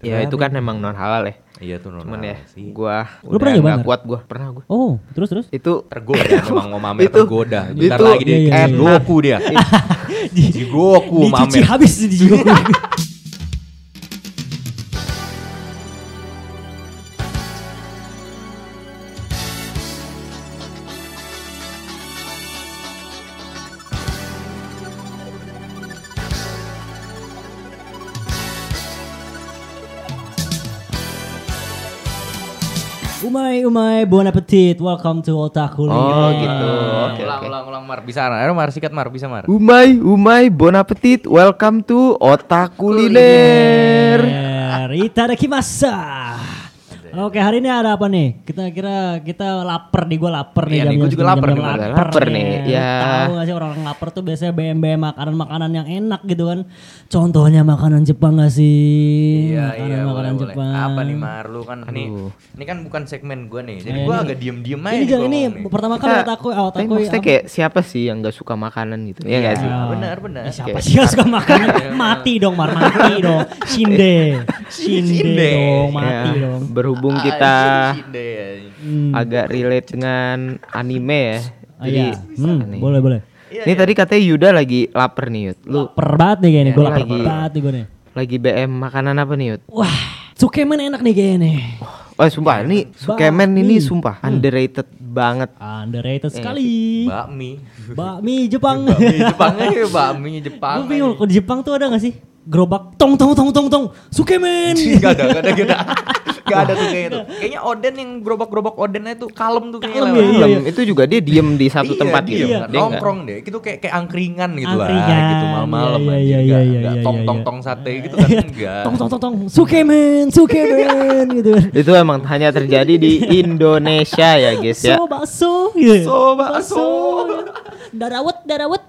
Ya Iya, itu kan emang non halal ya. Iya tuh normal Cuman ya Gitu. sih. gua udah Lu pernah nyoba nggak nggak? kuat gua, pernah gua. Oh, terus terus. Itu tergoda memang mau mamer Itu- tergoda. Bentar itu lagi dia Iya, iya, iya. Jigoku dia. Jigoku Dicuci mamer. habis di Umai, umai, bon appetit. Welcome to Otaku Oh, Live. gitu. Oke, Iya. ulang, oke. ulang, ulang, Mar. Bisa, ayo Mar, sikat Mar, bisa Mar. Umay, umay, bon appetit, welcome to Otak Kuliner. Kuliner. Itadakimasu. Oke hari ini ada apa nih? Kita kira kita lapar nih, gue lapar Iya nih. nih, jam-jam gua juga segini, lapar jam-jam nih, iya. gua lapar, lapar nih, ya. Tahu gak sih orang lapar tuh biasanya BMB makanan-makanan yang enak gitu kan. Contohnya makanan Jepang gak sih? makanan makanan Iya, boleh, boleh. Jepang. Apa nih Mar, lu kan ini, ini kan bukan segmen gua nih. Jadi gua agak diem-diem aja. Ini nih jangan kalau ini ngomong nih. pertama kali eh, otakku, tapi otakku. maksudnya ya? kayak siapa sih yang gak suka makanan gitu? Iya nggak sih? Iya, Benar, benar. Eh, Siapa sih yang suka makanan? mati dong, Mar, mati dong. Shinde. Shinde Shinde. Iya. dong, Ya, mati dong. berhubung Ah, kita shit, shit deh. Hmm. agak relate dengan anime ya. Ah, Jadi, iya. Hmm, nih. boleh boleh. Iya, Ini tadi katanya Yuda lagi lapar nih, Yud. Lu Iya, Laper banget nih kayaknya, gue lapar lagi. banget nih gue nih. lagi BM makanan apa nih, Yud? Wah, Sukemen enak nih kayaknya nih. Oh, sumpah ini Sukemen ini Bakmi. sumpah underrated banget. Eh, Underrated sekali. iya. Bakmi. Bakmi Jepang. Bakmi Jepang aja, ya, bakmi Jepang. Gue bingung, kalau di Jepang tuh ada gak sih? Gerobak tong tong tong tong tong Sukemen. Gak ada, gak ada, gak ada. Gak ada tuh kayaknya tuh. Kayaknya Oden yang gerobak-gerobak Odennya tuh kalem tuh kayaknya. Kalem lewat. ya, iya. Film itu juga dia diem di satu Iya, tempat diem, gitu. nggak Dia nggak- nongkrong deh. Itu kayak kayak angkringan gitu Angkringan, lah, gitu malam-malam iya, aja iya, nggak- iya, nggak iya, tong iya, tong iya. tong sate gitu kan enggak. tong tong tong tong Sukemen, Sukemen gitu kan. Itu emang hanya terjadi di Indonesia ya guys ya. So bakso gitu. So, bakso. Darawat, darawat,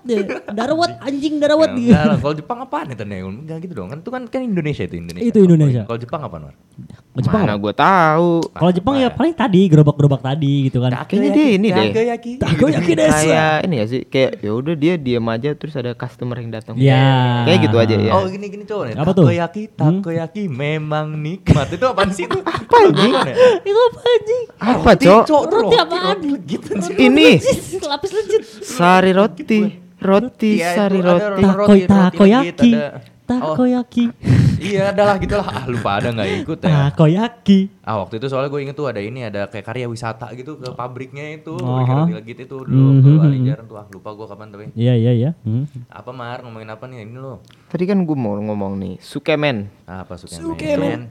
darawat gitu. anjing darawat gitu. Enggak lah, kalau Jepang apaan itu nih? Enggak gitu dong. Kan itu kan kan Indonesia itu Indonesia. Itu Indonesia. Kalau Jepang apaan, Mar? Kalau Jepang Mana gue tahu. Kalau Jepang ya paling tadi gerobak-gerobak tadi gitu kan. Kayaknya dia ini deh. Takoyaki. Takoyaki desa. Kayak ini ya sih kayak ya udah dia diem aja terus ada customer yang datang. Iya. Kayak gitu aja ya. Oh gini gini coba nih. Apa tuh? Hmm? Takoyaki, takoyaki memang nikmat. Itu apaan sih itu? ya? Apa Oh, Itu apa anjing? Apa, Cok? Roti apaan? Gitu. anjing. Ini Lecis, lapis legit. sari roti, roti Iya, itu sari ada roti. roti. Takoi roti takoyaki. legit ada. Oh. Takoyaki. Iya, adalah gitu lah. Ah, lupa ada nggak ikut ya. Takoyaki. Ah waktu itu soalnya gue inget tuh ada ini ada kayak karya wisata gitu ke pabriknya itu Aha. lagi legit itu dulu Mhm, ke mhm. Walijaran tuh ah lupa gue kapan tapi Iya iya iya. Hmm. apa Mar ngomongin apa nih ini lo Tadi kan gue mau ngomong nih, Sukemen ah, apa sukemen Sukemen.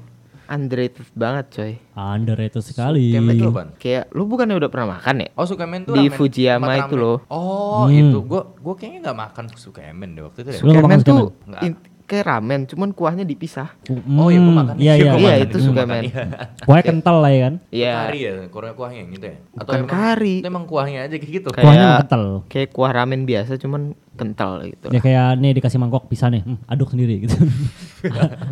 underrated banget coy. Underrated sekali. Sukemen itu apaan? Kayak lu bukannya udah pernah makan ya? Oh sukemen tuh Di ramen Fujiyama tempat itu ramen. loh. Hmm. Oh itu gue gue kayaknya nggak makan sukemen deh waktu itu deh. Lu nggak makan Sukemen tuh Sukemen? Nggak. in- kayak ramen, cuman kuahnya dipisah. Oh iya gue Hmm, makan. Iya iya. gua Iya, makan, itu gua sukemen. makan, iya. Kuahnya kental lah ya kan. Iya. Kari ya kuahnya kuahnya gitu ya. Bukan kari. Itu emang kuahnya aja kayak gitu. Kayak- Kuahnya emang kental. Kayak kuah ramen biasa cuman kental gitu. Ya kayak nih dikasih mangkok pisah nih, hmm, aduk sendiri gitu.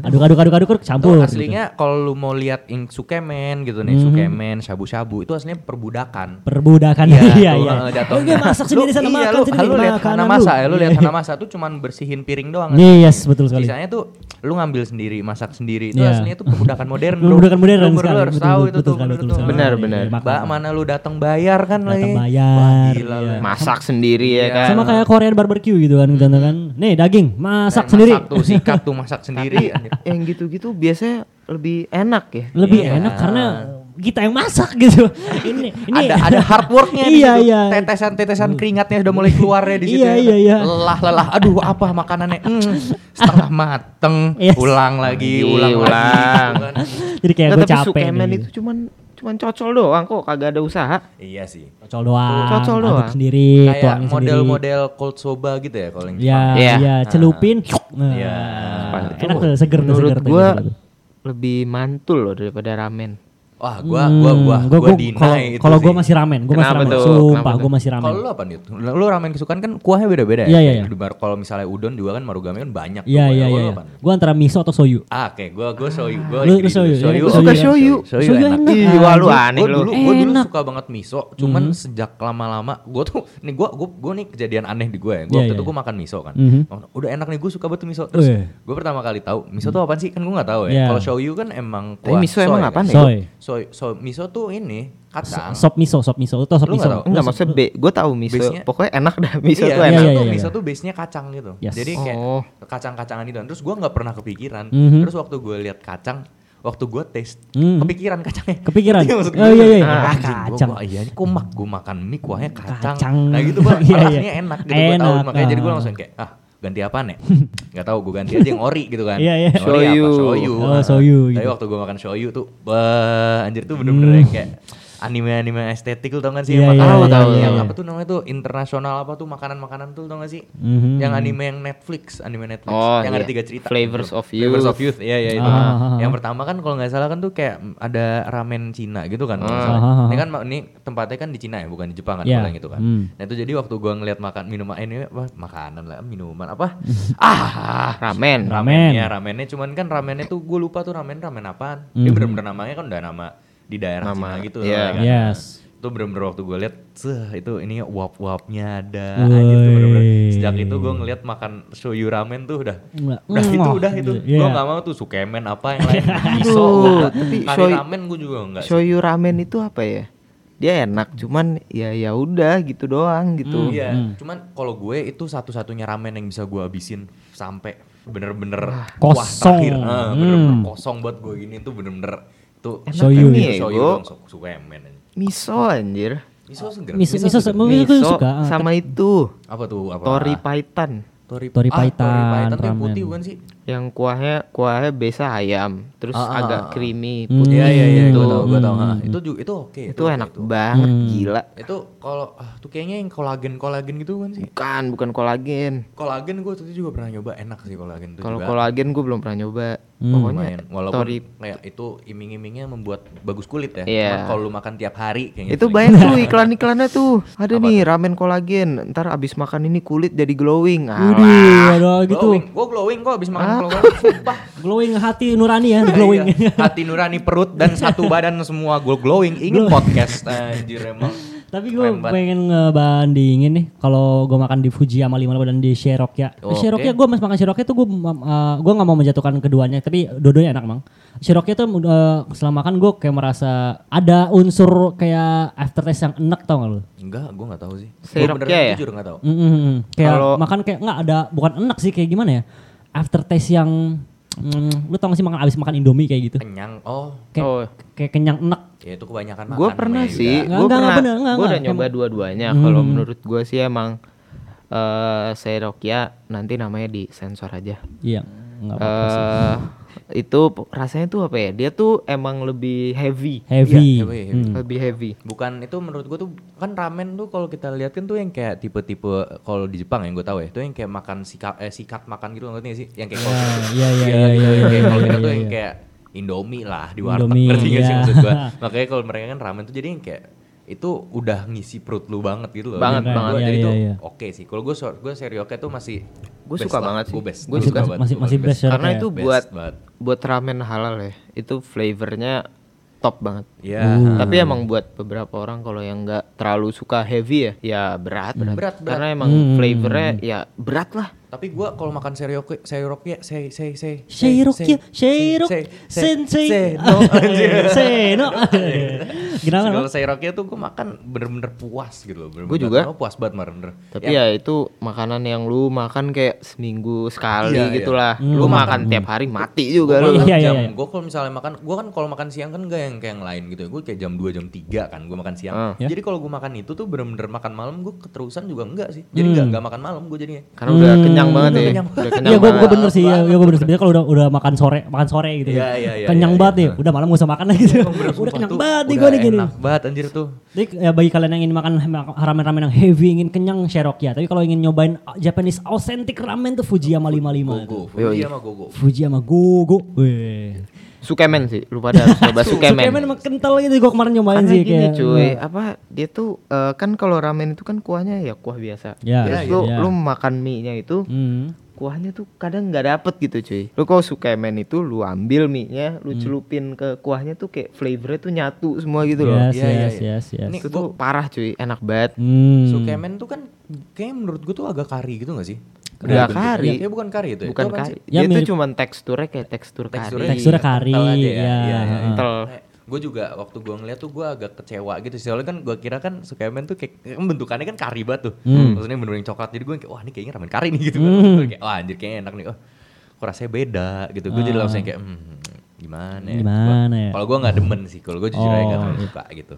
aduk aduk aduk aduk aduk, Tuh, campur. gitu. aslinya kalau lu mau lihat yang sukemen gitu Mhm. nih, sukemen, shabu-shabu itu aslinya perbudakan. Perbudakan iya iya. eh, jatuh. Oke masak sendiri Lu- sana iya, makan lu, sendiri lu lihat makanan Hana Masa ya, lu lihat Hana Masa tuh cuman bersihin piring doang. Iya, yes, betul sekali. Sisanya tuh lu ngambil sendiri, masak sendiri. Itu Iya. aslinya tuh perbudakan modern. bro. Perbudakan kan modern Lu- lu sekali, harus betul, tahu betul, itu betul tuh. sekali, menurut betul lu. sekali. Iya, Benar, benar. Makan. Mbak mana lu datang bayar kan lagi. Datang Wah, bayar. gila lu. iya. Masak sendiri Iya. ya kan. Sama kayak Korean barbecue gitu kan, gitu kan. Nih daging, masak Masak sendiri. Iya. tuh, sikat tuh masak sendiri. anjir. yang gitu-gitu biasanya lebih enak ya. Lebih Iya. enak karena kita yang masak gitu. ini ini ada ada hard worknya di Iya, situ. iya. Tetesan-tetesan keringatnya sudah mulai keluar ya di situ. Iya, ya. iya, iya. Lelah lelah. Aduh, apa makanannya? Hmm, setengah mateng. Yes. Ulang lagi, Lagi, ulang, ulang. lagi. gitu kan. Jadi kayak Nah, gue tapi Iya, capek. Sukemen nih, itu gitu. cuman cuman cocol doang kok, kagak ada usaha. Iya sih. Cocol doang, Cocol aduk doang. Kayak sendiri, Iya, tuangin sendiri. model-model cold soba gitu ya kalau yang Ya, Jepang. Iya. ya, celupin. Nah, Iya. Enak tuh, seger tuh, Menurut seger tuh, gitu, gua seger tuh. lebih mantul loh daripada ramen. Wah, gua gua gua Hmm, gua, gua- deny kalau- itu Kalau gua sih. masih ramen, gua masih Kenapa ramen. tuh? Sumpah, Kenapa gua tuh? masih ramen. Kalau lu apa nih? Lu ramen kesukaan kan kuahnya beda-beda ya? Iya, iya, iya. Di bar- Kalau misalnya udon juga kan marugame kan banyak. tuh Iya, kuahnya. iya, Kalau iya. lu iya. apa nih? Gua antara miso atau soyu. Ah, oke, gua gua shoyu, gua Lu- dikit lu shoyu, dulu. ya, lu Suka shoyu. shoyu. Shoyu Shoyu enak. enak. Eh, Ih, wah lu anjing. aneh Gue lu. Oh, dulu, gua dulu Enak. Mhm. suka banget miso, cuman sejak lama-lama gue tuh, nih gue gue gue nih kejadian aneh di gue. Gue Iya, waktu iya, itu iya. gue makan miso kan, Mhm. udah enak nih gue suka banget tuh miso. Terus Weh. gue pertama kali tahu miso tuh apaan sih? Kan gue nggak tahu ya. Iya. Kalau shoyu kan emang Tapi miso emang apaan nih? ya? Soy. Soy, soy, miso tuh ini kacang. Sop miso, sop miso. Lu tau sop Lu miso? nggak tahu? Enggak maksudnya B, gue tahu miso. Base-nya- Pokoknya enak dah miso tuh iya, miso enak. Iya, tuh, iya, miso iya. tuh base-nya kacang gitu. Yes. Jadi kayak Oh. kacang-kacangan itu. Terus gue nggak pernah kepikiran. Mhm. Terus waktu gue lihat kacang, waktu gue taste, Mhm. kepikiran kacangnya. Kepikiran. Iya, maksud Oh, gua. iya, iya. Ah, Ah, anjing, gua- kacang. gua- iya, ini kok mak gue makan mie kuahnya kacang. Kacang. Nah gitu gue Iya, iya. rasanya enak gitu. Gue tahu Enak, makanya jadi gue ah. langsung kayak ah ganti apa nih? Gak tahu gue ganti aja yang ori gitu kan. Iya, iya. Yang Ori apa? Shoyu. Shoyu. Oh, Ah. shoyu Tapi gitu. Hmm. waktu gue makan shoyu tuh, bah, anjir tuh bener-bener yang kayak anime-anime estetik lu tau kan sih Iya, yang iya, makan iya, tahu iya, yang iya. apa tuh namanya tuh internasional apa tuh makanan-makanan tuh tau gak sih Mhm. yang anime yang Netflix anime Netflix Hmm. Oh, yang ada iya. tiga cerita Flavors of Flavors Youth. of Youth iya iya itu Ah, ah, ah. yang pertama kan kalau nggak salah kan tuh kayak ada ramen Cina gitu kan kalau nggak Ah. salah. Ah, ah, ah. ini kan ma- ini tempatnya kan di Cina ya bukan di Jepang kan Iya. kalau yang itu kan Hmm. nah itu jadi waktu gua ngeliat makan minuman eh, ini apa makanan lah minuman apa ah Ramen. Ramen. ramennya ramennya cuman kan ramennya tuh gue lupa tuh ramen ramen apaan dia Mhm. bener-bener namanya kan udah nama di daerah Nama, Cina gitu Hmm. iya. kan. ya. Yes. itu bener-bener waktu gue lihat seh itu ini uap-uapnya ada Woi. anjir tuh bener-bener sejak itu gue ngeliat makan shoyu ramen tuh udah Nggak. udah itu Ngoh, udah itu gitu. Iya. gue nggak mau tuh sukemen apa yang lain miso Aduh, udah. tapi kari shoyu- ramen gue juga nggak sih. Shoyu ramen itu apa ya? Dia enak, cuman ya ya udah gitu doang gitu. Iya, Hmm. cuman kalau gue itu satu-satunya ramen yang bisa gue habisin sampai bener-bener kuah Kosong. terakhir. Ah, bener-bener Hmm. kosong buat gue gini tuh bener-bener itu Shoyu. Itu Iya, shoyu Go. dong, so- suka emen. Miso anjir. Miso seger. Miso, Miso miso, seger. miso, miso Miso suka. ah, sama itu apa tuh apa? tori paitan Tori, Tori ah, Tori Paitan, Paitan tuh yang ramen. putih bukan sih? yang kuahnya kuahnya biasa ayam, terus Ah, ah, agak ah. creamy, Hmm. putih. Iya iya iya, gue gitu. tau gue tau. Ah, itu juga itu oke. Itu oke, enak itu. banget Hmm. gila. Itu kalau ah, tuh kayaknya yang kolagen kolagen gitu kan sih. Bukan, bukan kolagen. Kolagen gue tuh juga pernah nyoba enak sih kolagen tuh Kalau juga. kolagen gue belum pernah nyoba. Hmm. Pokoknya lumayan walaupun tori kayak itu iming-imingnya membuat bagus kulit ya Iya. Cuman kalau lu makan tiap hari kayak itu gitu. banyak tuh iklan-iklannya tuh. Ada nih ramen kolagen. Ntar abis makan ini kulit jadi glowing. Alah. Widih, ada gitu. Nah, glowing gue glowing kok abis Ah. makan glowing sumpah Glowing hati nurani ya, glowing. Iya. hati nurani perut dan satu badan semua gue glowing ingin podcast anjir emang Tapi gue Keren banget. pengen ngebandingin nih kalau gue makan di Fuji sama Lima dan di Sherokya. Di Oke. Sherokya gue masih makan Sherokya tuh gue gue eh, nggak mau menjatuhkan keduanya, tapi dua-duanya enak mang. Sherokya tuh eh, setelah makan gue kayak merasa ada unsur kayak aftertaste yang enak tau gak lu? enggak gue nggak tahu sih Gua Sirupnya beneran ya? jujur nggak tahu Mm, mm, mm. Kayak Kalau- makan kayak nggak ada bukan enak sih kayak gimana ya? Aftertaste yang mm, lu tau gak sih makan abis makan Indomie kayak gitu? kenyang oh Kayak, Oh. kayak kenyang enak. ya itu kebanyakan makan Gue pernah namanya, sih, Yuda. Enggak, gue enggak, pernah, bener, enggak, gue udah enggak. nyoba dua-duanya. Kalau Hmm. menurut gue sih emang eh Serokya nanti namanya di sensor aja. Iya. nggak apa-apa. eh itu p- rasanya tuh apa ya? Dia tuh emang lebih heavy, Iya, heavy. heavy, heavy. Mm. lebih heavy. Bukan itu menurut gue tuh kan ramen tuh kalau kita lihat kan tuh yang kayak tipe-tipe kalau di Jepang yang gue tahu ya itu yang kayak makan sikat eh sikat makan gitu ngerti gak sih yang kayak kalau- iya, iya, Iya, iya, gitu. iya, Yang iya, kayak kalau iya, kita tuh iya, yang iya. kayak Indomie lah di warteg Indomie, ngerti gak sih iya. maksud gue makanya kalau mereka kan ramen tuh jadi yang kayak itu udah ngisi perut lu banget gitu loh Banget, Menurut banget. gua, Iya, jadi iya, tuh iya. oke sih kalau gue gue serioke tuh masih Gua suka banget sih. gue best Gua Gua suka- banget. masih- Gua masih best ya. Karena Serokya. itu Best buat banget. buat ramen halal ya. Itu flavornya top banget. Iya. Hmm. Tapi emang buat beberapa orang kalau yang nggak terlalu suka heavy ya, ya berat, berat. Berat, berat. Karena emang Hmm. flavornya ya berat lah. tapi gue kalau makan serioke serioke say say say Sherokya, Sherok, ya, Sensei, Sensei, no. Kenapa? Segala Sairokia ya tuh gue makan bener-bener puas gitu loh. bener-bener. Gua juga. Gua puas banget bener. Tapi Iya. ya itu makanan yang lu makan kayak seminggu sekali Iya, iya. gitulah. Hmm. Lu makan tiap hari mati juga lu. Iya, iya, jam, iya. gue kalau misalnya makan, gue kan kalau makan siang kan gak yang kayak yang lain gitu ya. Gue kayak jam 2, jam 3 kan gue makan siang. Ah. Ya. Jadi kalau gue makan itu tuh bener-bener makan malam gue keterusan juga enggak sih. Hmm. Jadi nggak nggak makan malam gue jadinya. Karena udah kenyang banget ya. kenyang Udah kenyang Iya, gue banget. gue bener sih, ya, gue bener sih. Biasanya kalau udah udah makan sore, makan sore gitu. Iya, iya, iya, Kenyang iya, banget iya. nih. Udah malam gak usah makan lagi. gitu. udah Sumpah kenyang tuh, banget nih udah gue nih gini. Enak banget anjir tuh. Jadi ya bagi kalian yang ingin makan ramen-ramen yang heavy, ingin kenyang Sherokya. Tapi kalau ingin nyobain Japanese authentic ramen tuh Fujiyama 55. Gogo, Fuji sama Gogo. Fujiyama Gogo. Weh. Sukemen sih, lu pada harus coba Sukemen. Sukemen emang kental gitu gue kemarin nyobain Karena sih Kan gini kayak. Hmm. cuy, apa dia tuh eh, kan kalau ramen itu kan kuahnya ya kuah biasa. Ya, Terus ya, lu ya. lu makan mie-nya itu Hmm. kuahnya tuh kadang nggak dapet gitu cuy. Lu kalau sukemen itu lu ambil mie-nya, Hmm. lu celupin ke kuahnya tuh kayak flavornya tuh nyatu semua gitu loh. Yes, Iya, iya, yes, iya. yes, yes. Ini- Itu tuh parah cuy, enak banget. Hmm. Sukemen tuh kan kayaknya menurut gue tuh agak kari gitu gak sih? Nggak Bentuknya. kari. Ya bukan kari itu ya. Bukan Itu apaan kari. sih? Ya, dia tuh mirip- cuman teksturnya kayak tekstur Teksturnya, iya. kari. Teksturnya kari, kental aja Iya, ya, heeh. Kental. Gue juga waktu gue ngeliat tuh gue agak kecewa gitu sih. Soalnya kan gue kira kan Sukemen tuh kayak kan bentukannya kan kari banget tuh. Hmm. Maksudnya bener-bener yang coklat. Jadi gue kayak wah ini kayaknya ramen kari nih gitu. Terus Kayak wah anjir kayaknya enak nih. Oh, kok rasanya beda gitu. Gue jadi langsung kayak hmm, gimana ya. Ah. Gua- Gimana ya? Kalau gue gak demen sih. Kalau gue jujur aja gak Oh, terlalu suka gitu.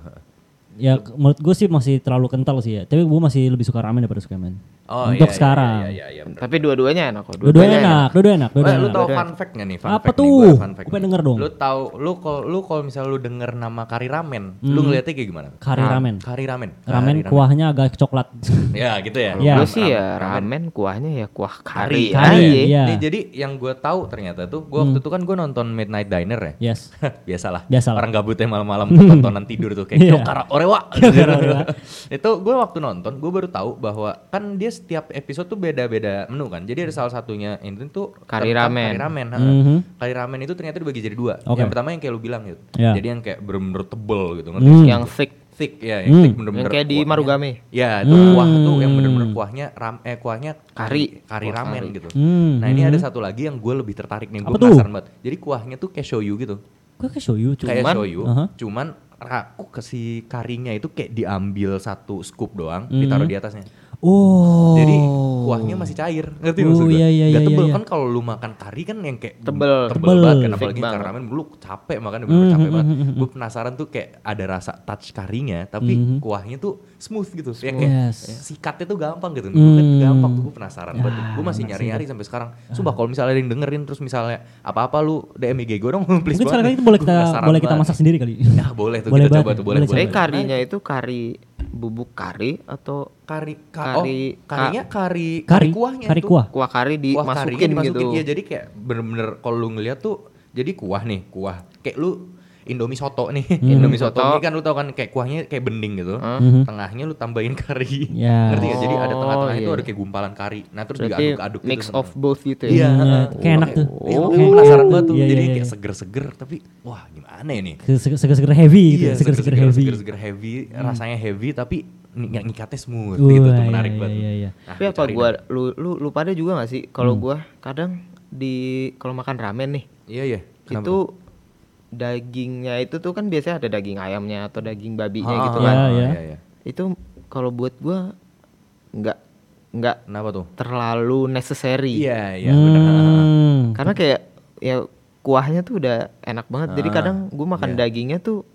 Ya ke- menurut gue sih masih terlalu kental sih ya. Tapi gue masih lebih suka ramen daripada sukemen. Oh, iya, Untuk iya, sekarang. Iya, iya, iya, bener. Tapi dua-duanya enak kok. Dua-duanya enak, dua-duanya enak, Eh, dua-duanya lu enak. tau fun fact gak nih? Fun Apa fact nih, tuh? gua fun fact Gua pengen nih. denger dong. Lu tau, lu kalau lu kalau misalnya lu denger nama kari ramen, lu ngeliatnya kayak gimana? Hmm. Kari ramen. Kari ramen. Ramen Kari kuahnya agak coklat. Ya gitu ya. Iya. Gue sih ya ramen kuahnya ya kuah kari. ya. Kari, aja. iya. Hmm. Nih, jadi yang gue tahu ternyata tuh, gue waktu itu kan gue nonton Midnight Diner ya. yes. Biasalah. Biasalah. Orang gabutnya malam-malam tontonan tidur tuh kayak Iya. Kyokara Orewa. Kyokara Orewa. itu gue waktu nonton gue baru tahu bahwa kan dia setiap episode tuh beda-beda menu kan. Jadi ada salah satunya ini tuh Kari tentang ramen. Kari ramen. ha. Mhm. Kari ramen itu ternyata dibagi jadi dua. Oke. Yang pertama yang kayak lu bilang gitu. Iya. Mm. Jadi yang kayak bener-bener tebel gitu. ngerti? Hmm. Yang thick. Thick ya, yang thick bener-bener. Yang kayak di kuahnya. Marugame. Ya, itu Mm. kuah tuh yang bener-bener kuahnya ram eh kuahnya kari kari Oh, ramen gitu. Hmm, Nah, ini ada satu lagi yang gue lebih tertarik nih, gue Apa tuh? penasaran banget. Jadi kuahnya tuh kayak shoyu gitu. Gue ke show you cuy. Kayak Cuman- shoyu, Aha. cuman raku ke si karinya itu kayak diambil satu scoop doang, ditaruh di atasnya. Hmm. Oh. Jadi kuahnya masih cair, ngerti Oh, maksud gue? iya, iya, Nggak iya, tebel iya. kan kalau lu makan kari kan yang kayak Tebel. tebel, Tebel. Hmm, banget kan apalagi Thick kari banget. ramen lu capek makan bener-bener capek banget. Gue penasaran tuh kayak ada rasa touch karinya tapi kuahnya tuh smooth gitu. Ya kayak Hmm. Yes. sikatnya tuh gampang gitu. Gue kan Hmm. Ya, gampang tuh gue penasaran banget. Gue masih nyari-nyari sampai sekarang. Ah. Sumpah kalau misalnya ada yang dengerin terus misalnya apa-apa lu DM IG gue dong please banget. Mungkin ya. sekali-kali itu boleh Gua kita penasaran boleh kita banget. masak sendiri kali. Nah, boleh tuh Boleh kita coba banget, tuh, boleh boleh Nah, boleh. Jadi karinya itu kari bubuk kari atau Kari, ka- oh, Kari- karinya kari, Kari, kuahnya kari tuh. kuah. kuah kari kuah karinya dimasukin, dimasukin gitu. ya jadi kayak bener-bener kalau lu ngeliat tuh jadi kuah nih kuah kayak lu Indomie soto nih Hmm. Indomie soto Soto. ini kan lu tau kan kayak kuahnya kayak bening gitu Mhm. tengahnya lu tambahin kari Ya. ngerti gak jadi ada Oh, tengah-tengah itu iya. ada kayak gumpalan kari nah terus Berarti diaduk-aduk mix gitu of both gitu ya. Iya, heeh. Kayak enak tuh. Iya, Oh. makanya gua penasaran banget tuh. Iya, Jadi iya, kayak iya. seger-seger tapi wah gimana ya nih? Seger-seger heavy gitu. Iya, Seger-seger heavy. Hmm. seger-seger heavy, rasanya heavy tapi ny- ngikatnya smooth Wah, gitu tuh iya, menarik iya, banget. iya, iya. Nah, Tapi apa cari gua dah. lu lu lu pada juga gak sih kalau Hmm. gua kadang di kalau makan ramen nih Iya, iya. Kenapa? itu dagingnya itu tuh kan biasanya ada daging ayamnya atau daging babinya Ah, gitu ah, kan. ah, Iya, iya, iya. Itu kalau buat gua nggak nggak Kenapa tuh? terlalu necessary. Iya, iya, benar. Hmm. Karena kayak ya kuahnya tuh udah enak banget. Jadi Ah, kadang gue makan dagingnya tuh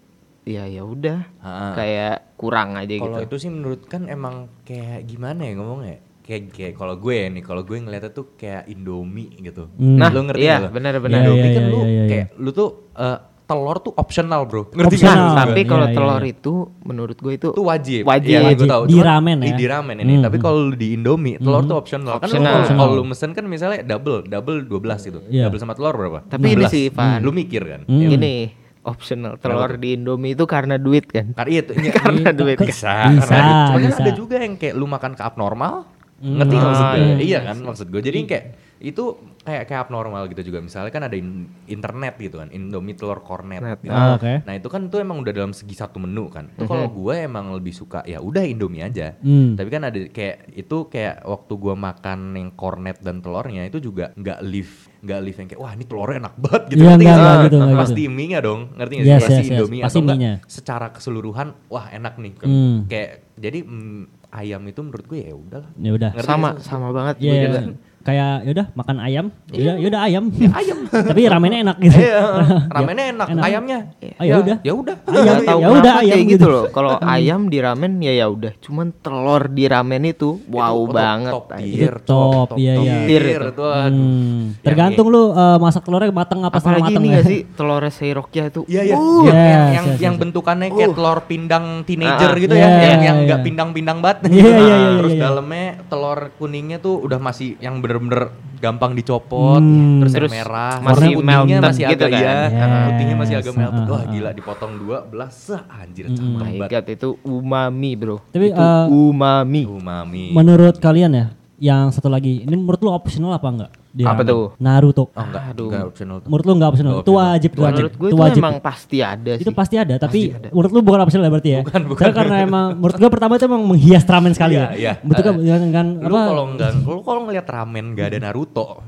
ya ya udah Ah. kayak kurang aja Kalau gitu. itu sih menurut kan emang kayak gimana ya ngomongnya? Kayak kayak kalau gue ya nih, kalau gue ngeliatnya tuh kayak Indomie gitu. Hmm. Nah, lu ngerti iya, nggak lo? benar-benar. Indomie Iya, iya, kan lu iya, iya, iya. kayak lu tuh eh, telur tuh optional, Bro. Ngerti Optional. nggak? Nah, Tapi Iya, kalau iya, telur iya. itu menurut gue itu itu wajib. Wajib. Iya, Wajib. gue tahu. Di Cuman, ramen di- ya. Hmm. Di ramen ini. Tapi kalau lu di Indomie, telur tuh optional. Kan lu Optional. kalau- kalau lu mesen kan misalnya double, double 12 gitu. Iya. Hmm. Double sama telur berapa? Tapi ini 16. sih, Van. Lu mikir kan? gini optional telur di Indomie itu karena duit kan. Karena itu iya, karena duit kan. bisa, Bisa, karena ada- cuman kan bisa. Hmm. ada juga yang kayak lu makan ke abnormal ngerti nggak maksud Ah, gue iya, iya kan maksud gue jadi kayak itu kayak kayak abnormal gitu juga misalnya kan ada in- internet gitu kan Indomie telur kornet Net. gitu. Ah, oke. nah itu kan tuh emang udah dalam segi satu menu kan Hmm. itu kalau gue emang lebih suka ya udah Indomie aja Hmm. tapi kan ada kayak itu kayak waktu gue makan yang kornet dan telurnya itu juga nggak live nggak live yang kayak wah ini telurnya enak banget gitu Iya, ngerti nggak, nggak sih? nggak gitu, nggak pasti gitu. mie-nya dong ngerti nggak Yes, sih pasti yes, yes. Indomie Pasti atau nggak mie-nya. secara keseluruhan wah enak nih Hmm. kayak jadi mm, ayam itu menurut gue ya udahlah Ya udah. Ngerti Sama nggak sih? sama banget Iya. gue juga. Kayak yaudah makan ayam. Yaudah, yaudah ayam. ayam Tapi ramennya enak gitu. Eh, ramennya enak, enak. ayamnya Oh, ya udah. ya udah Ayam, Nggak tahu ya udah kenapa ayam kayak gitu. gitu loh. Kalau ayam di ramen ya ya udah. Cuman telur di ramen itu wow Itu banget. oh, top anjing. tier Itu top, iya, iya. tier Tier itu aduh Hmm. Tergantung lu eh, masak telurnya mateng apa setengah Apalagi mateng ini ya. gak sih telurnya Seirokia itu. Oh Iya iya. Yes, yang yang, yang, yes, yang bentukannya kayak telur pindang teenager Ah, gitu ya, iya, yang iya, yang iya. nggak pindang-pindang banget. Iya, iya, iya, Terus iya, iya. dalamnya telur kuningnya tuh udah masih yang bener bener-bener gampang dicopot, Hmm. terus, yang Terus merah, masih warna melted masih gitu kan? agak iya, Yes. putihnya masih agak Ah, melted. ah, Wah ah. gila dipotong dua belas, sah anjir Oh cakep my banget. God, itu umami bro. Tapi, itu eh, umami. Umami. Menurut kalian ya, yang satu lagi, ini menurut lu optional apa enggak? Dia- Apa tuh? Naruto. Oh enggak, Aduh. enggak optional tuh. Menurut lu enggak optional? Nggak Itu optional. wajib, Itu wajib. Menurut gue Itu itu wajib. emang pasti ada Itu sih. pasti ada, tapi menurut lu bukan optional berarti ya? Bukan, bukan. Soalnya karena emang, menurut gua pertama itu emang menghias ramen sekali Iya, iya. ya? Betul kan? Eh, Kan, kan Lu apa, kalau enggak, lu kalau ngeliat ramen gak ada Naruto.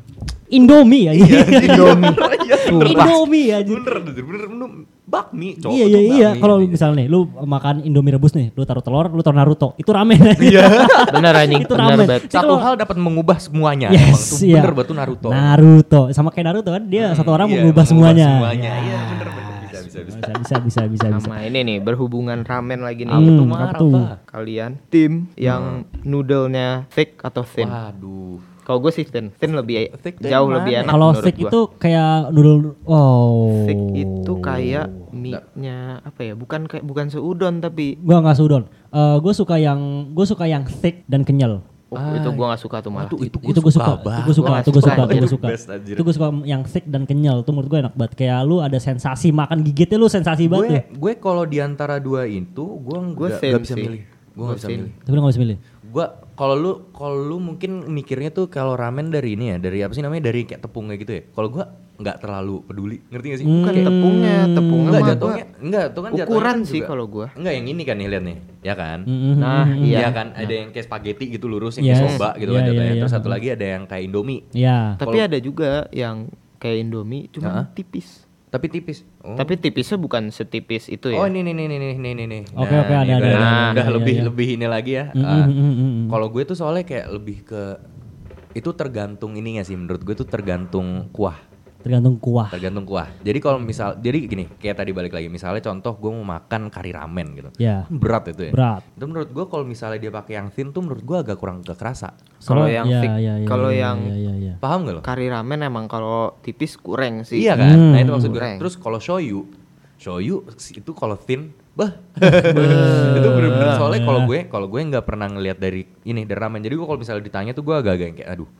Indomie ya? Iya, Indomie. Sumpah. Indomie ya. bener, bener, bener, bener, bakmi, cowok Iya tuh iya iya. bakmi Kalau namanya. misalnya nih, lu makan Indomie rebus nih, lu taruh telur, lu taruh Naruto, itu ramen. Iya. Bener anjing, Itu bener ramen. banget. Tapi satu kalau- hal dapat mengubah semuanya emang tuh yes, iya. bener batu Naruto Naruto, sama kayak Naruto kan, dia satu orang Iya, mengubah semuanya. semuanya iya bener bener bisa bisa bisa Bisa bisa bisa bisa. bisa. Sama ini nih berhubungan ramen lagi nih. Hmm, Itu mah apa apa? tuh? Kalian tim yang noodle-nya thick atau thin? waduh Kalau gue sih thin, thin lebih Thick tuh jauh yang lebih mana? enak Kalau menurut steak gua. itu kayak noodle oh. Thick itu kayak Oh. mie-nya apa ya? Bukan kayak bukan seudon tapi gua nggak sudon. Eh gua suka yang gua suka yang thick dan kenyal. Oh, itu gua nggak suka tuh malah. Waduh, itu, itu gue suka, itu gue suka, Wah, itu gue suka suka, itu gue anjir. suka, Best, anjir. itu gue suka yang thick dan kenyal. Itu menurut gue enak banget. Kayak lu ada sensasi makan gigitnya lu sensasi gue banget. tuh. gue kalau diantara dua itu gue Gua nggak thin nggak bisa sih. milih gue Gua nggak bisa thin. milih Tapi lu nggak bisa milih. gue kalau lu kalau lu mungkin mikirnya tuh kalau ramen dari ini ya dari apa sih namanya dari kayak tepung kayak gitu ya kalau gue nggak terlalu peduli ngerti gak sih Hmm. Bukan tepungnya, tepungnya Enggak mah jatuhnya, enggak tuh kan jatuhnya ukuran kan sih juga- kalau gua. Enggak yang ini kan nih lihat nih, ya kan? Mm-mm. Nah, iya. Iya kan, ada yang kayak spaghetti gitu lurus, yang kayak Yes. soba gitu Iya, kan iya, jatuhnya. iya. Terus satu lagi ada yang kayak indomie, Ya. Tapi ada juga yang kayak Indomie cuma tipis. tapi tipis. Oh, Tapi tipisnya bukan setipis itu ya. oh ini nih nih nih nih nih nih. Iya. Oke, oke, ada, ini ada, udah- ada, ada, Udah ada, lebih iya, iya. lebih ini lagi ya. Mm, Ah, mm, mm, mm, mm. Kalau gue tuh soalnya kayak lebih ke itu tergantung ininya sih menurut gue tuh tergantung kuah. Tergantung kuah. tergantung kuah. Jadi kalau misal, jadi gini, kayak tadi balik lagi, misalnya contoh gue mau makan kari ramen gitu, Ya. berat itu ya. Berat. Itu menurut gue kalau misalnya dia pakai yang thin tuh menurut gue agak kurang gak kerasa. Kalau Soalnya- yang ya, thick, ya, ya, kalau ya, yang ya, ya, ya. Paham gak lo? kari ramen emang kalau tipis kurang sih. Oh. Iya kan? Hmm. Nah itu maksud gue. Goreng. Terus kalau shoyu, shoyu itu kalau thin, bah. itu bener-bener soalnya kalau gue kalau gue nggak pernah ngelihat dari ini dari ramen. Jadi gue kalau misalnya ditanya tuh gue agak-agak yang kayak aduh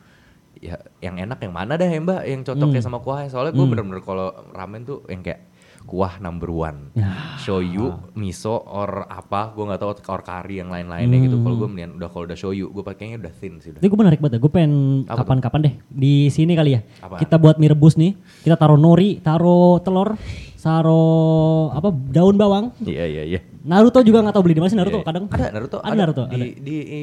ya yang enak yang mana dah ya mbak yang cocok Hmm. kayak sama kuah soalnya gue bener-bener kalau ramen tuh yang kayak kuah number one Ya. shoyu miso or apa gue nggak tahu or kari yang lain-lainnya gitu kalau gue mendingan udah kalau udah shoyu gue pakainya udah thin sih udah Hmm. Ini gue menarik banget ya, gue pengen Apa kapan-kapan deh di sini kali ya. Apaan? Kita buat mie rebus nih, kita taruh nori, taruh telur, taruh apa daun bawang. iya iya iya Naruto juga nggak tahu beli di mana sih Naruto kadang. ada Naruto Ada Naruto, di, ada. di, di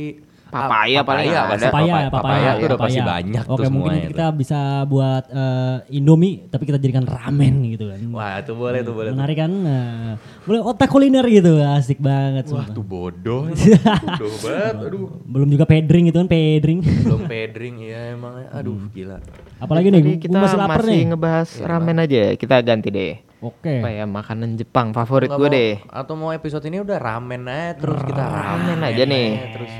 Papaya paling ada. pasti Papaya, papaya, papaya, itu udah pasti papaya. banyak Oke, tuh mungkin semuanya nanti kita bisa buat eh, Indomie, tapi kita jadikan ramen gitu kan. tuh. wah itu boleh tuh boleh tuh. Menarik kan? Nah, boleh otak kuliner gitu, asik banget. wah sumpah. tuh bodoh bodoh banget aduh Belum juga pedring gitu kan, pedring. belum pedring ya emang aduh Hmm. gila Apalagi nih, Jadi gue kita masih lapar nih. ngebahas Iya, ramen aja ya. Kita ganti deh. Oke. Apa ya makanan Jepang favorit Nggak gue mau- deh. atau mau episode ini udah ramen aja terus kita ramen, Ramen aja nih. terus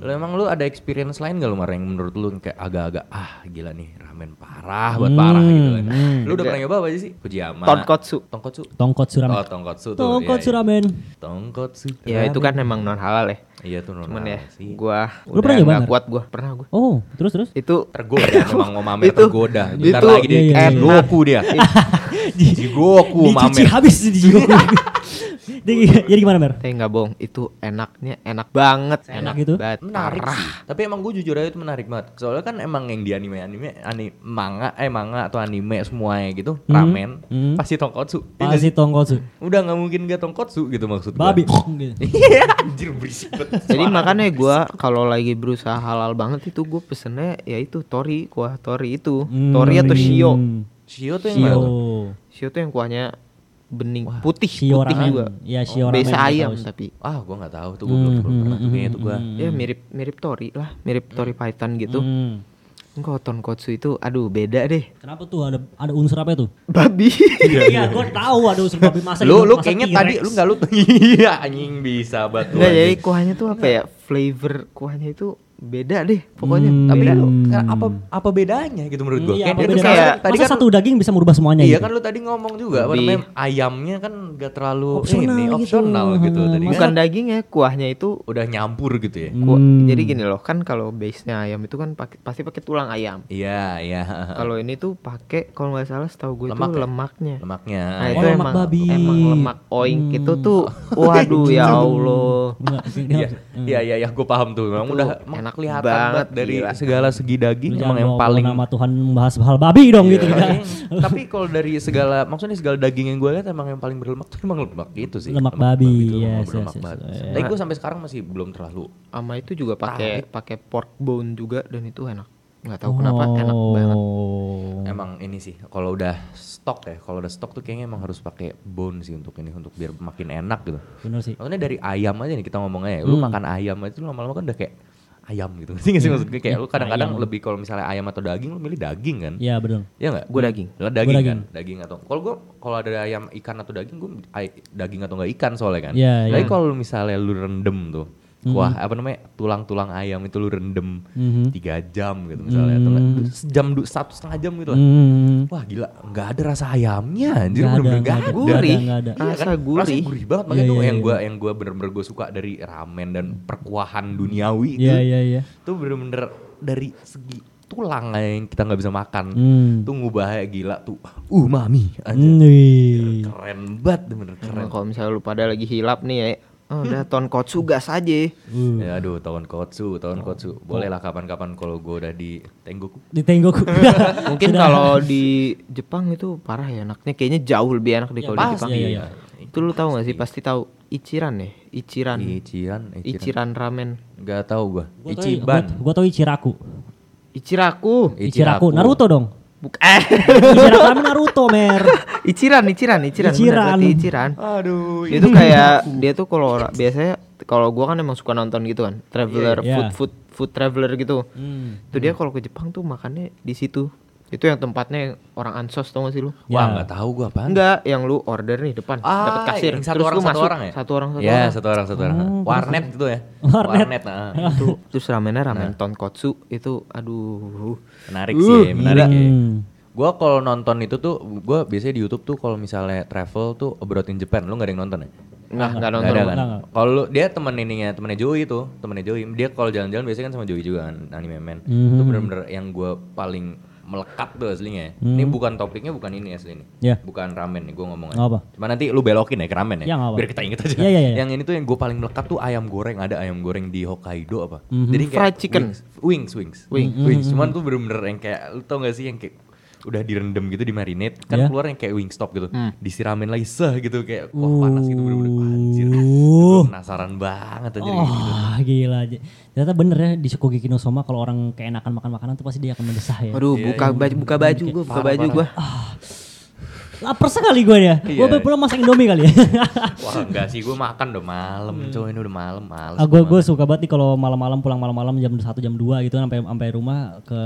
Lu emang lu ada experience lain gak lu Mar yang menurut lu kayak agak-agak ah gila nih ramen parah buat Hmm. parah gitu kan. Lu udah pernah nyoba apa aja sih? Fujiyama. Hmm. Tonkotsu. Tongkotsu. Tongkotsu ramen. Oh, tongkotsu tuh. iya, Tongkotsu iya. ramen. Tongkotsu. Ya itu kan emang non halal ya. Iya tuh Cuman normal ya sih. gua Lu pernah nyoba nggak nggak? kuat gua. Pernah gua. Oh, terus terus. Itu Tergoda emang mau mamer Itu- tergoda. Bentar itu lagi dia Iya, iya, kayak iya. Goku dia. Jigoku Uh, Dicuci mamer. habis di Jadi, jadi gimana, Mer? saya nggak bohong, itu enaknya enak banget, Enak enak, gitu. banget. menarik Parah. sih. Tapi emang gue jujur aja itu menarik banget. Soalnya kan emang yang di anime anime anime manga eh manga atau anime semuanya gitu ramen hmm. pasti tongkotsu. Iya nggak Pasti sih? tongkotsu. Udah nggak mungkin gak tongkotsu gitu maksud gua. Babi. gitu. Eh, Iya anjir berisik banget. Jadi makanya gua kalau lagi berusaha halal banget itu gue pesennya yaitu tori, kuah tori itu. Tori atau shio. Hmm. Shio tuh yang Shio. mana? Shio tuh yang kuahnya bening, putih, shio putih ramen. juga. Iya, shio ramen, Biasa gua tahu Hmm. ayam sih. tapi Ah gue nggak tahu tuh gue belum belum pernah tuh kayaknya tuh gue. ya mirip mirip tori lah, mirip tori python gitu. Hmm. Engkau tonkotsu itu aduh beda deh. Kenapa tuh ada ada unsur apa itu? Babi. Iya, gue tahu ada unsur babi masa Lu gitu, lu masa kayaknya T-Rex. tadi lu nggak lu iya anjing bisa banget. lu, Enggak jadi anjing. kuahnya tuh apa ya? Flavor kuahnya itu beda deh pokoknya. Hmm. Tapi kan Beda. lu, apa apa bedanya gitu menurut gua? Iya, Kayak itu apa dia tuh bedanya? kayak- Masa- tadi masa kan- satu daging bisa merubah semuanya Iya gitu? kan lu tadi ngomong juga apa Lebih. namanya ayamnya kan gak terlalu Opsional ini gitu. opsional gitu tadi kan Bukan dagingnya, kuahnya itu udah nyampur gitu ya. kuah- Hmm. jadi gini loh, kan kalau base-nya ayam itu kan pakai- pasti pakai tulang ayam. Iya iya. Kalau ini tuh pakai kalau nggak salah setahu gue itu Lemak iya. ya? lemaknya. Lemaknya. Nah, Oh, itu lemak emang babi. emang lemak oink Hmm. itu tuh waduh ya Allah. Enggak, dia- dia- Iya iya iya ya, gue paham tuh. Memang Itu udah enak kelihatan banget, banget dari gila. segala segi daging Jangan emang yang bawa-bawa paling nama Tuhan membahas hal babi dong gitu. Iya. Jangan. Tapi kalau dari segala maksudnya segala daging yang gue lihat emang yang paling berlemak tuh emang lemak itu sih. Lemak babi, itu yes, emang yes, berlemak yes, banget. yes. Tapi gue sampai sekarang masih belum terlalu Ama itu juga pakai pakai pork bone juga dan itu enak. nggak tahu Oh. kenapa enak banget. emang ini sih kalau udah stok ya kalau udah stok tuh kayaknya emang harus pakai bone sih untuk ini untuk biar makin enak gitu Bener sih. maksudnya dari ayam aja nih kita ngomongnya ya lu Iya. Hmm. makan ayam aja tuh lama-lama kan udah kayak ayam gitu sih nggak sih maksudnya kayak lu kadang-kadang Iya, Ayam. lebih kalau misalnya ayam atau daging lu milih daging kan Iya bener. Iya nggak Gua daging. Lu daging, Gua daging. kan daging atau kalau gua kalau ada ayam ikan atau daging gua ay- daging atau nggak ikan soalnya kan Iya, tapi iya. Hmm. kalau misalnya lu rendem tuh Wah, apa namanya tulang-tulang ayam itu lu rendem Mhm. tiga jam gitu misalnya, atau nggak, du- sejam du, satu setengah jam gitu lah. Hmm. Wah gila, nggak ada rasa ayamnya, anjir Nggak ada, bener-bener nggak nggak ada. ada. Gurih. nggak ada. Iya Rasa kan? gurih. Rasanya gurih banget, makanya Iya, tuh iya, yang iya. gua yang gua bener-bener gue suka dari ramen dan perkuahan duniawi itu. Iya iya iya. Tuh bener-bener dari segi tulang aja yang kita nggak bisa makan. Hmm. Tuh ngubahnya gila tuh, uh mami, anjir. Hmm, wih. Keren banget, bener keren. Emang kalau misalnya lu pada lagi hilap nih ya, oh, udah Hmm. tonkotsu gas aja. Uh. Hmm. Ya, aduh, tahun kotsu, tahun kotsu. Boleh lah kapan-kapan kalau gua udah di Tenggoku. Di tenggoku. Mungkin kalau di Jepang itu parah ya enaknya kayaknya jauh lebih enak deh kalau di pasti, Jepang. iya, iya. Itu lu tahu gak sih pasti tahu Ichiran ya, Ichiran. Ichiran, Ichiran. Ichiran ramen. Gak tau gua. Hmm. Gua tau- Ichiban. gua- Gua tau Ichiraku. Ichiraku. Ichiraku. Naruto dong. Buk eh. Ichiraku kan Naruto mer. Ichiran, Ichiran, Ichiran. bener, Ichiran. berarti Ichiran. Aduh, Dia tuh kayak dia tuh kalau ora- biasanya kalau gua kan emang suka nonton gitu kan, traveler Iya. food food food traveler gitu. Tuh dia kalau ke Jepang tuh makannya di situ. Itu yang tempatnya yang orang ansos tau gak sih lu? Wah, Ya. nggak tahu gua apaan. Enggak, yang lu order nih depan Ah, dapat kasir. yang satu terus orang lu satu masuk, orang ya? satu orang satu ya, orang. Oh, satu orang satu orang. Warnet itu ya. Warnet. nah. Itu terus ramennya ramen tonkotsu itu aduh. Menarik Uh, sih, menarik gila. ya. Hmm. Gua kalau nonton itu tuh gua biasanya di YouTube tuh kalau misalnya travel tuh abroad in Japan, lu nggak ada yang nonton ya? Enggak, enggak Nggak nonton. ada gua. kan? Nggak, nggak. Kalau lu- dia temen ininya, temennya Joey tuh, temennya Joey. Dia kalau jalan-jalan biasanya kan sama Joey juga kan, anime man. Mhm. Itu bener-bener yang gua paling melekat tuh aslinya. Ini bukan topiknya bukan ini aslinya. Mhm. Iya. Bukan ramen nih gua ngomongnya. Nggak apa. Cuma nanti lu belokin ya ke ramen Ya, ya. nggak apa. Biar kita inget aja. Iya, iya, iya. Yang ini tuh yang gue paling melekat tuh ayam goreng, ada ayam goreng di Hokkaido apa. Mhm. Jadi Fried chicken. Wings, wings, wings. Wing. Wings. Cuman tuh bener-bener yang kayak lu tau gak sih yang kayak udah direndam gitu di marinate kan Iya. keluar yang kayak wingstop gitu Hmm. disiramin lagi seh gitu kayak wah Uh. panas gitu bener-bener anjir Gua penasaran banget anjir kayak gitu Oh gila. Ternyata bener ya di Shokugeki no Soma kalau orang keenakan makan makanan tuh pasti dia akan mendesah ya. Aduh, buka baju, buka baju gua, buka Iya, Parah, Ah, baju parah. gua. Lapar sekali gue ya. Gue Iya. pulang masak Indomie kali ya. wah enggak sih gue makan udah malam coy ini udah malam males Hmm. Ah, gue gue suka banget nih kalau malam-malam pulang malam-malam jam 1 jam 2 gitu kan sampai sampai rumah ke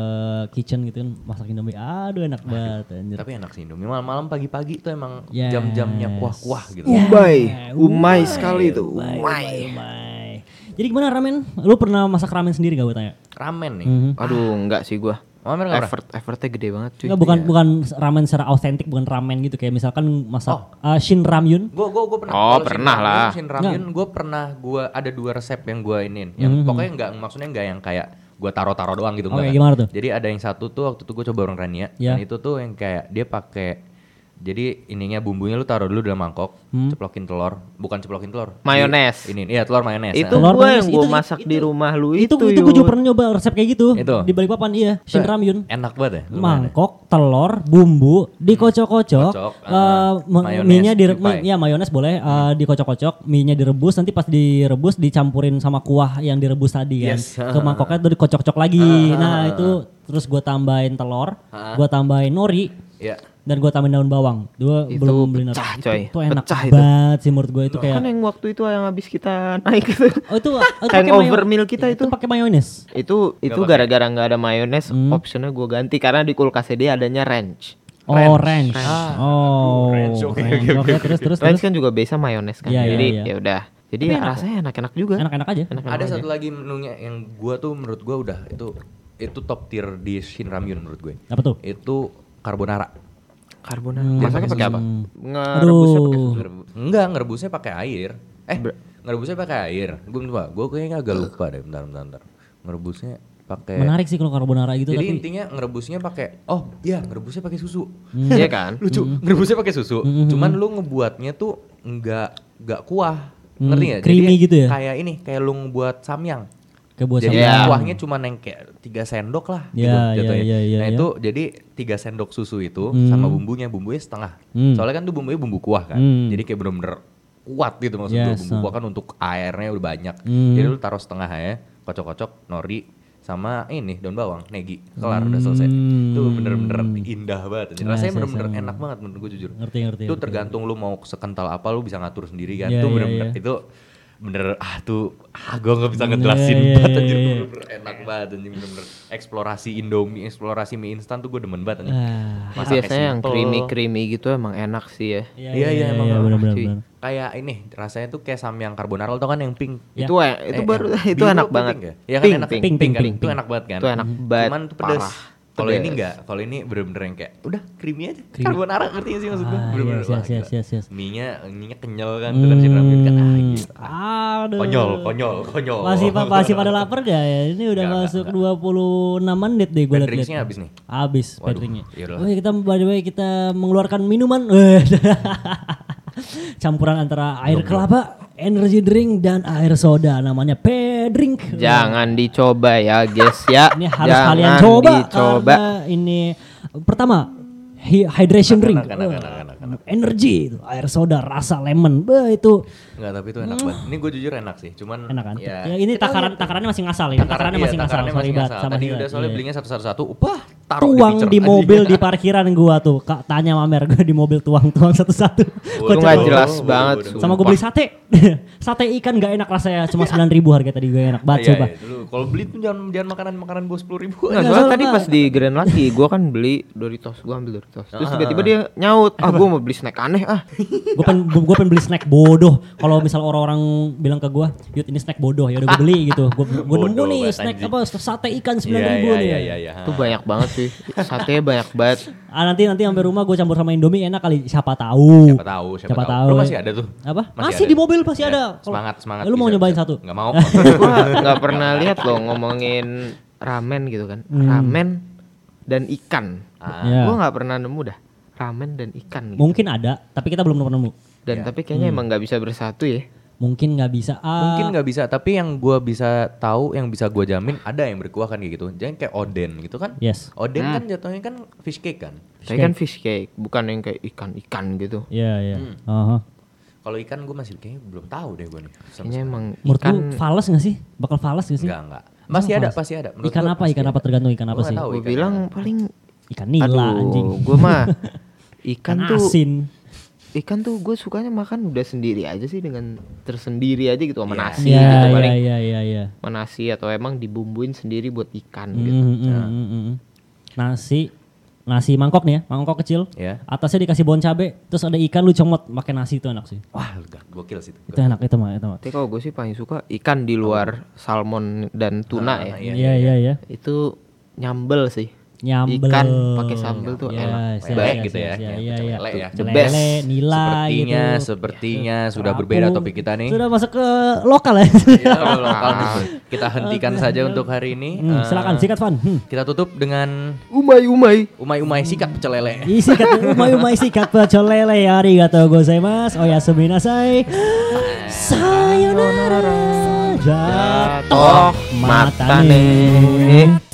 kitchen gitu kan masak Indomie. Aduh enak banget anjir. tapi enak sih Indomie malam-malam pagi-pagi tuh emang Yes. Iya. jam-jamnya kuah-kuah gitu Umai, umai sekali itu. Umai. Umai. Jadi gimana ramen? Lu pernah masak ramen sendiri gak gue tanya? Mhm. ramen nih Hmm. Aduh, enggak sih gua. Ramen nggak pernah? Effort effortnya gede banget Oh, cuy. Enggak bukan bukan ramen secara autentik bukan ramen gitu kayak misalkan masak ah, shin ramyun. Gue gue gue pernah. Oh, kalau Shin pernah Ramyun, lah. Shin ramyun Iya. gue pernah gue ada dua resep yang gue inin. Yang Hmm. pokoknya nggak maksudnya nggak yang kayak gue taro-taro doang gitu. Oke, nggak kan. Oh, gimana tuh? Jadi ada yang satu tuh waktu itu gue coba orang Rania. Ya. Dan itu tuh yang kayak dia pakai jadi ininya bumbunya lu taruh dulu dalam mangkok, Hmm. ceplokin telur, bukan ceplokin telur. Mayones. Ini iya telur mayones. Itu Telur gua manis, yang gua itu- masak itu- di rumah lu Itu itu. itu, gue Yud. juga pernah nyoba resep kayak gitu Itu. di balik papan iya shin ramyun. Nah, Enak banget ya. lumayan ya. mangkok, telur, bumbu, dikocok-kocok, Kocok, eh, ah, ma- mayones, mie-nya dire- dipai. mi- ya mayones boleh, eh, dikocok-kocok, mie-nya direbus, nanti pas direbus dicampurin sama kuah yang direbus tadi kan. Yes. Ke mangkoknya tuh dikocok-kocok lagi. nah, itu terus gua tambahin telur, gua tambahin nori Iya. dan gua tambahin daun bawang. Dua Itu belum beli nasi. pecah, Itu- coy. Itu, enak Pecah itu. banget sih menurut gua itu kayak Kan yang waktu itu yang habis kita naik itu. Oh itu, oh, itu pakai Hangover mayo- iya, meal kita itu. Itu Hmm. pakai mayones. Itu itu gara-gara nggak ada mayones, optionnya gue ganti karena di kulkasnya dia adanya ranch. Oh, ranch. Oh. Ranch, oke, ranch. oke, oke, Oke, terus terus terus. Ranch kan juga biasa mayones kan. Iya, Jadi iya, iya. ya udah Jadi Tapi ya enak rasanya enak-enak juga. Enak-enak aja. Enak-enak Ada aja. satu lagi menunya yang gua tuh menurut gua udah itu itu top tier di Shin Ramyun menurut gue. Apa tuh? Itu carbonara. Carbonara. Dia Masaknya pakai pakai apa? Hmm. Ngerebusnya pakai Aduh. Ngereb- Enggak, ngerebusnya pakai air. Eh, Ber- ngerebusnya pakai air. Gue coba, gue kayaknya agak lupa deh, bentar bentar. bentar. Ngerebusnya pakai Menarik sih kalau carbonara gitu Jadi tapi intinya ngerebusnya pakai oh iya ngerebusnya pakai susu. Mm-hmm. Hmm. Iya kan? Lucu, ngerebusnya pakai susu. Cuman lu ngebuatnya tuh enggak enggak kuah. Ngerti nggak? creamy gitu ya? Kayak ini, kayak lu ngebuat samyang. kayak buat Jadi ya, samyang. sambal. Iya. kuahnya cuma yang kayak 3 sendok lah gitu, Ya, ya, jatuhnya. ya, ya, nah ya. itu jadi 3 sendok susu itu Hmm. sama bumbunya, bumbunya setengah. Hmm. Soalnya kan tuh bumbunya bumbu kuah kan. Hmm. Jadi kayak bener-bener kuat gitu maksudnya Yes, bumbu ah. kuah kan untuk airnya udah banyak. Hmm. Jadi lu taruh setengah ya, kocok-kocok nori sama ini daun bawang, negi. Kelar udah selesai. Itu bener-bener indah banget. anjir. Hmm. Yes, Rasanya yes, bener-bener yes. enak banget menurut gue jujur. Ngerti, ngerti, Itu ngerti. tergantung lu mau sekental apa lu bisa ngatur sendiri kan. itu Iya, iya, bener-bener iya. itu bener ah tuh ah gue nggak bisa Iya, ngejelasin iya, banget iya, anjir iya. Bener-bener enak banget anjing bener-bener eksplorasi Indomie, eksplorasi mie instan tuh gue demen banget anjing. Ah. Masak Biasanya kayak yang simple. creamy creamy gitu emang enak sih ya. Iya Iya, iya, emang enak, benar benar. cuy. benar. Kayak ini rasanya tuh kayak samyang carbonara lo tau kan yang pink. Ya. Itu eh, itu Eh, baru yang itu biru enak apa banget. pink ya? Iya kan enak pink, pink, kan? pink, Itu enak banget kan. Itu enak banget. Cuman tuh pedes. Parah. Kalau ini Pedes. enggak, kalau ini bener-bener yang kayak udah creamy aja. Creamy. Carbonara ngerti gak sih maksud gue? Ah, Bener-bener yes, yes, yes, yes, yes. Mie-nya, mie-nya kenyal kan, tuh kan si ramen kan. Ah, Hmm. gitu. Ah, Aduh. Konyol, konyol, konyol. Masih pa- masih pada lapar gak ya? Ini udah Nggak, masuk 26 menit deh gue lihat. Drinksnya habis nih. Habis Waduh, iya baterainya. yaudah. Oke, kita by the way kita mengeluarkan minuman. Campuran antara air kelapa, energy drink dan air soda namanya P-drink. Jangan dicoba ya, guys ya. Ini harus Jangan kalian coba Ah, dicoba. karena ini pertama hy- hydration drink, Enak, enak, enak, enak, enak. energy, itu, air soda, rasa lemon, beh itu Enggak, tapi itu enak banget. Ini gue jujur enak sih, cuman Hmm. enak kan? Ya, ini takaran takarannya masih ngasal ini, takarannya iya, masih ngasal, takarannya sorry masih banget ngasal. sama Tadi Hidat, udah soalnya iya. belinya satu-satu-satu, upah, taruh Iya, tuang pitcher. di Anjing. mobil di parkiran gua tuh, Kak tanya Mamer gua di mobil tuang-tuang satu-satu. Itu nggak Bodoh, Kocak banget. bodoh, jelas bodoh, banget. bodoh. Sama gue beli sate. sate ikan gak enak rasanya, cuma 9.000 harga tadi gue enak banget Iya, coba. iya, dulu kalau beli tuh jangan jangan makanan-makanan bos 10 ribu. Iya, Nggak, soalnya tadi pas di Grand Lucky, gue kan beli Doritos, gue ambil Doritos. Terus tiba-tiba dia nyaut, ah gue mau beli snack aneh ah. gue pengen gue pengen beli snack bodoh kalau misal orang-orang bilang ke gue yud ini snack bodoh ya udah gue beli gitu gue gue nemu Bodoh nih banget, snack anjing. apa sate ikan Iya, sembilan ribu iya, nih iya, iya, iya. Itu banyak banget sih, satenya banyak banget. ah nanti nanti sampai rumah gue campur sama indomie enak kali siapa tahu Siapa tahu, siapa, Siapa tahu. tahu. Lu masih ada tuh. apa masih, ada. di mobil pasti Iya, ada Kalau- Semangat, semangat. Eh, lu mau nyobain satu Enggak mau. Gue nggak pernah lihat loh ngomongin ramen gitu kan, ramen dan ikan. Ah. Ya. Gue nggak pernah nemu dah ramen dan ikan. Gitu. mungkin ada tapi kita belum pernah nemu Dan tapi kayaknya emang nggak bisa bersatu ya. mungkin nggak bisa ah, Mungkin nggak bisa, tapi yang gua bisa tahu, yang bisa gua jamin ada yang berkuah kan kayak gitu. Jangan kayak oden gitu kan. yes Oden kan jatuhnya kan fish cake kan. Tapi kan fish cake, bukan yang kayak ikan-ikan gitu. Iya, iya. Hmm. Aha. Kalau ikan gua masih kayaknya belum tahu deh gua nih. Sama- Kayaknya emang Menurut lu ikan. fales gak sih? Bakal fales gak sih? Enggak, enggak. Masih ada, fals? pasti ada. Menurut Ikan gua apa? pasti Ikan apa ada. tergantung ikan Gua apa nggak sih? tahu Gue ikannya. bilang paling Ikan nila anjing. gue mah ikan Ikan Kan tuh asin. ikan tuh gue sukanya makan udah sendiri aja sih dengan tersendiri aja gitu sama nasi Iya, gitu iya, paling iya, iya, iya. sama nasi atau emang dibumbuin sendiri buat ikan gitu. Mm, Nah. mm, mm, mm, mm. Nasi nasi mangkok nih ya, mangkok kecil. Ya. Atasnya dikasih bon cabe, terus ada ikan lu comot pakai nasi itu enak sih. Wah, gak- gokil sih itu. Itu enak itu mah, itu mah. Tapi kalau gue sih paling suka ikan di luar salmon dan tuna ya. Iya, Oh. Iya, iya, iya. Itu nyambel sih. Nyambel. Ikan pakai sambel tuh Yes, enak. yes, yes, Baik yes, gitu ya. yes, Kayak Iya, macam iya. lele ya. The Lele, best. nila Sepertinya, gitu. sepertinya sudah berbeda Terapung. topik kita nih. Sudah masuk ke lokal ya. Iya, kalau lokal nih. Kita hentikan saja untuk hari ini. Hmm, Eh, silakan sikat Van. Hmm. Kita tutup dengan Umai umai. umai-umai sikat pecel lele. Isi kata umai umai sikat pecel lele arigato gozaimasu oyasumi Eh. nasai sayonara Toh jatuh mata nih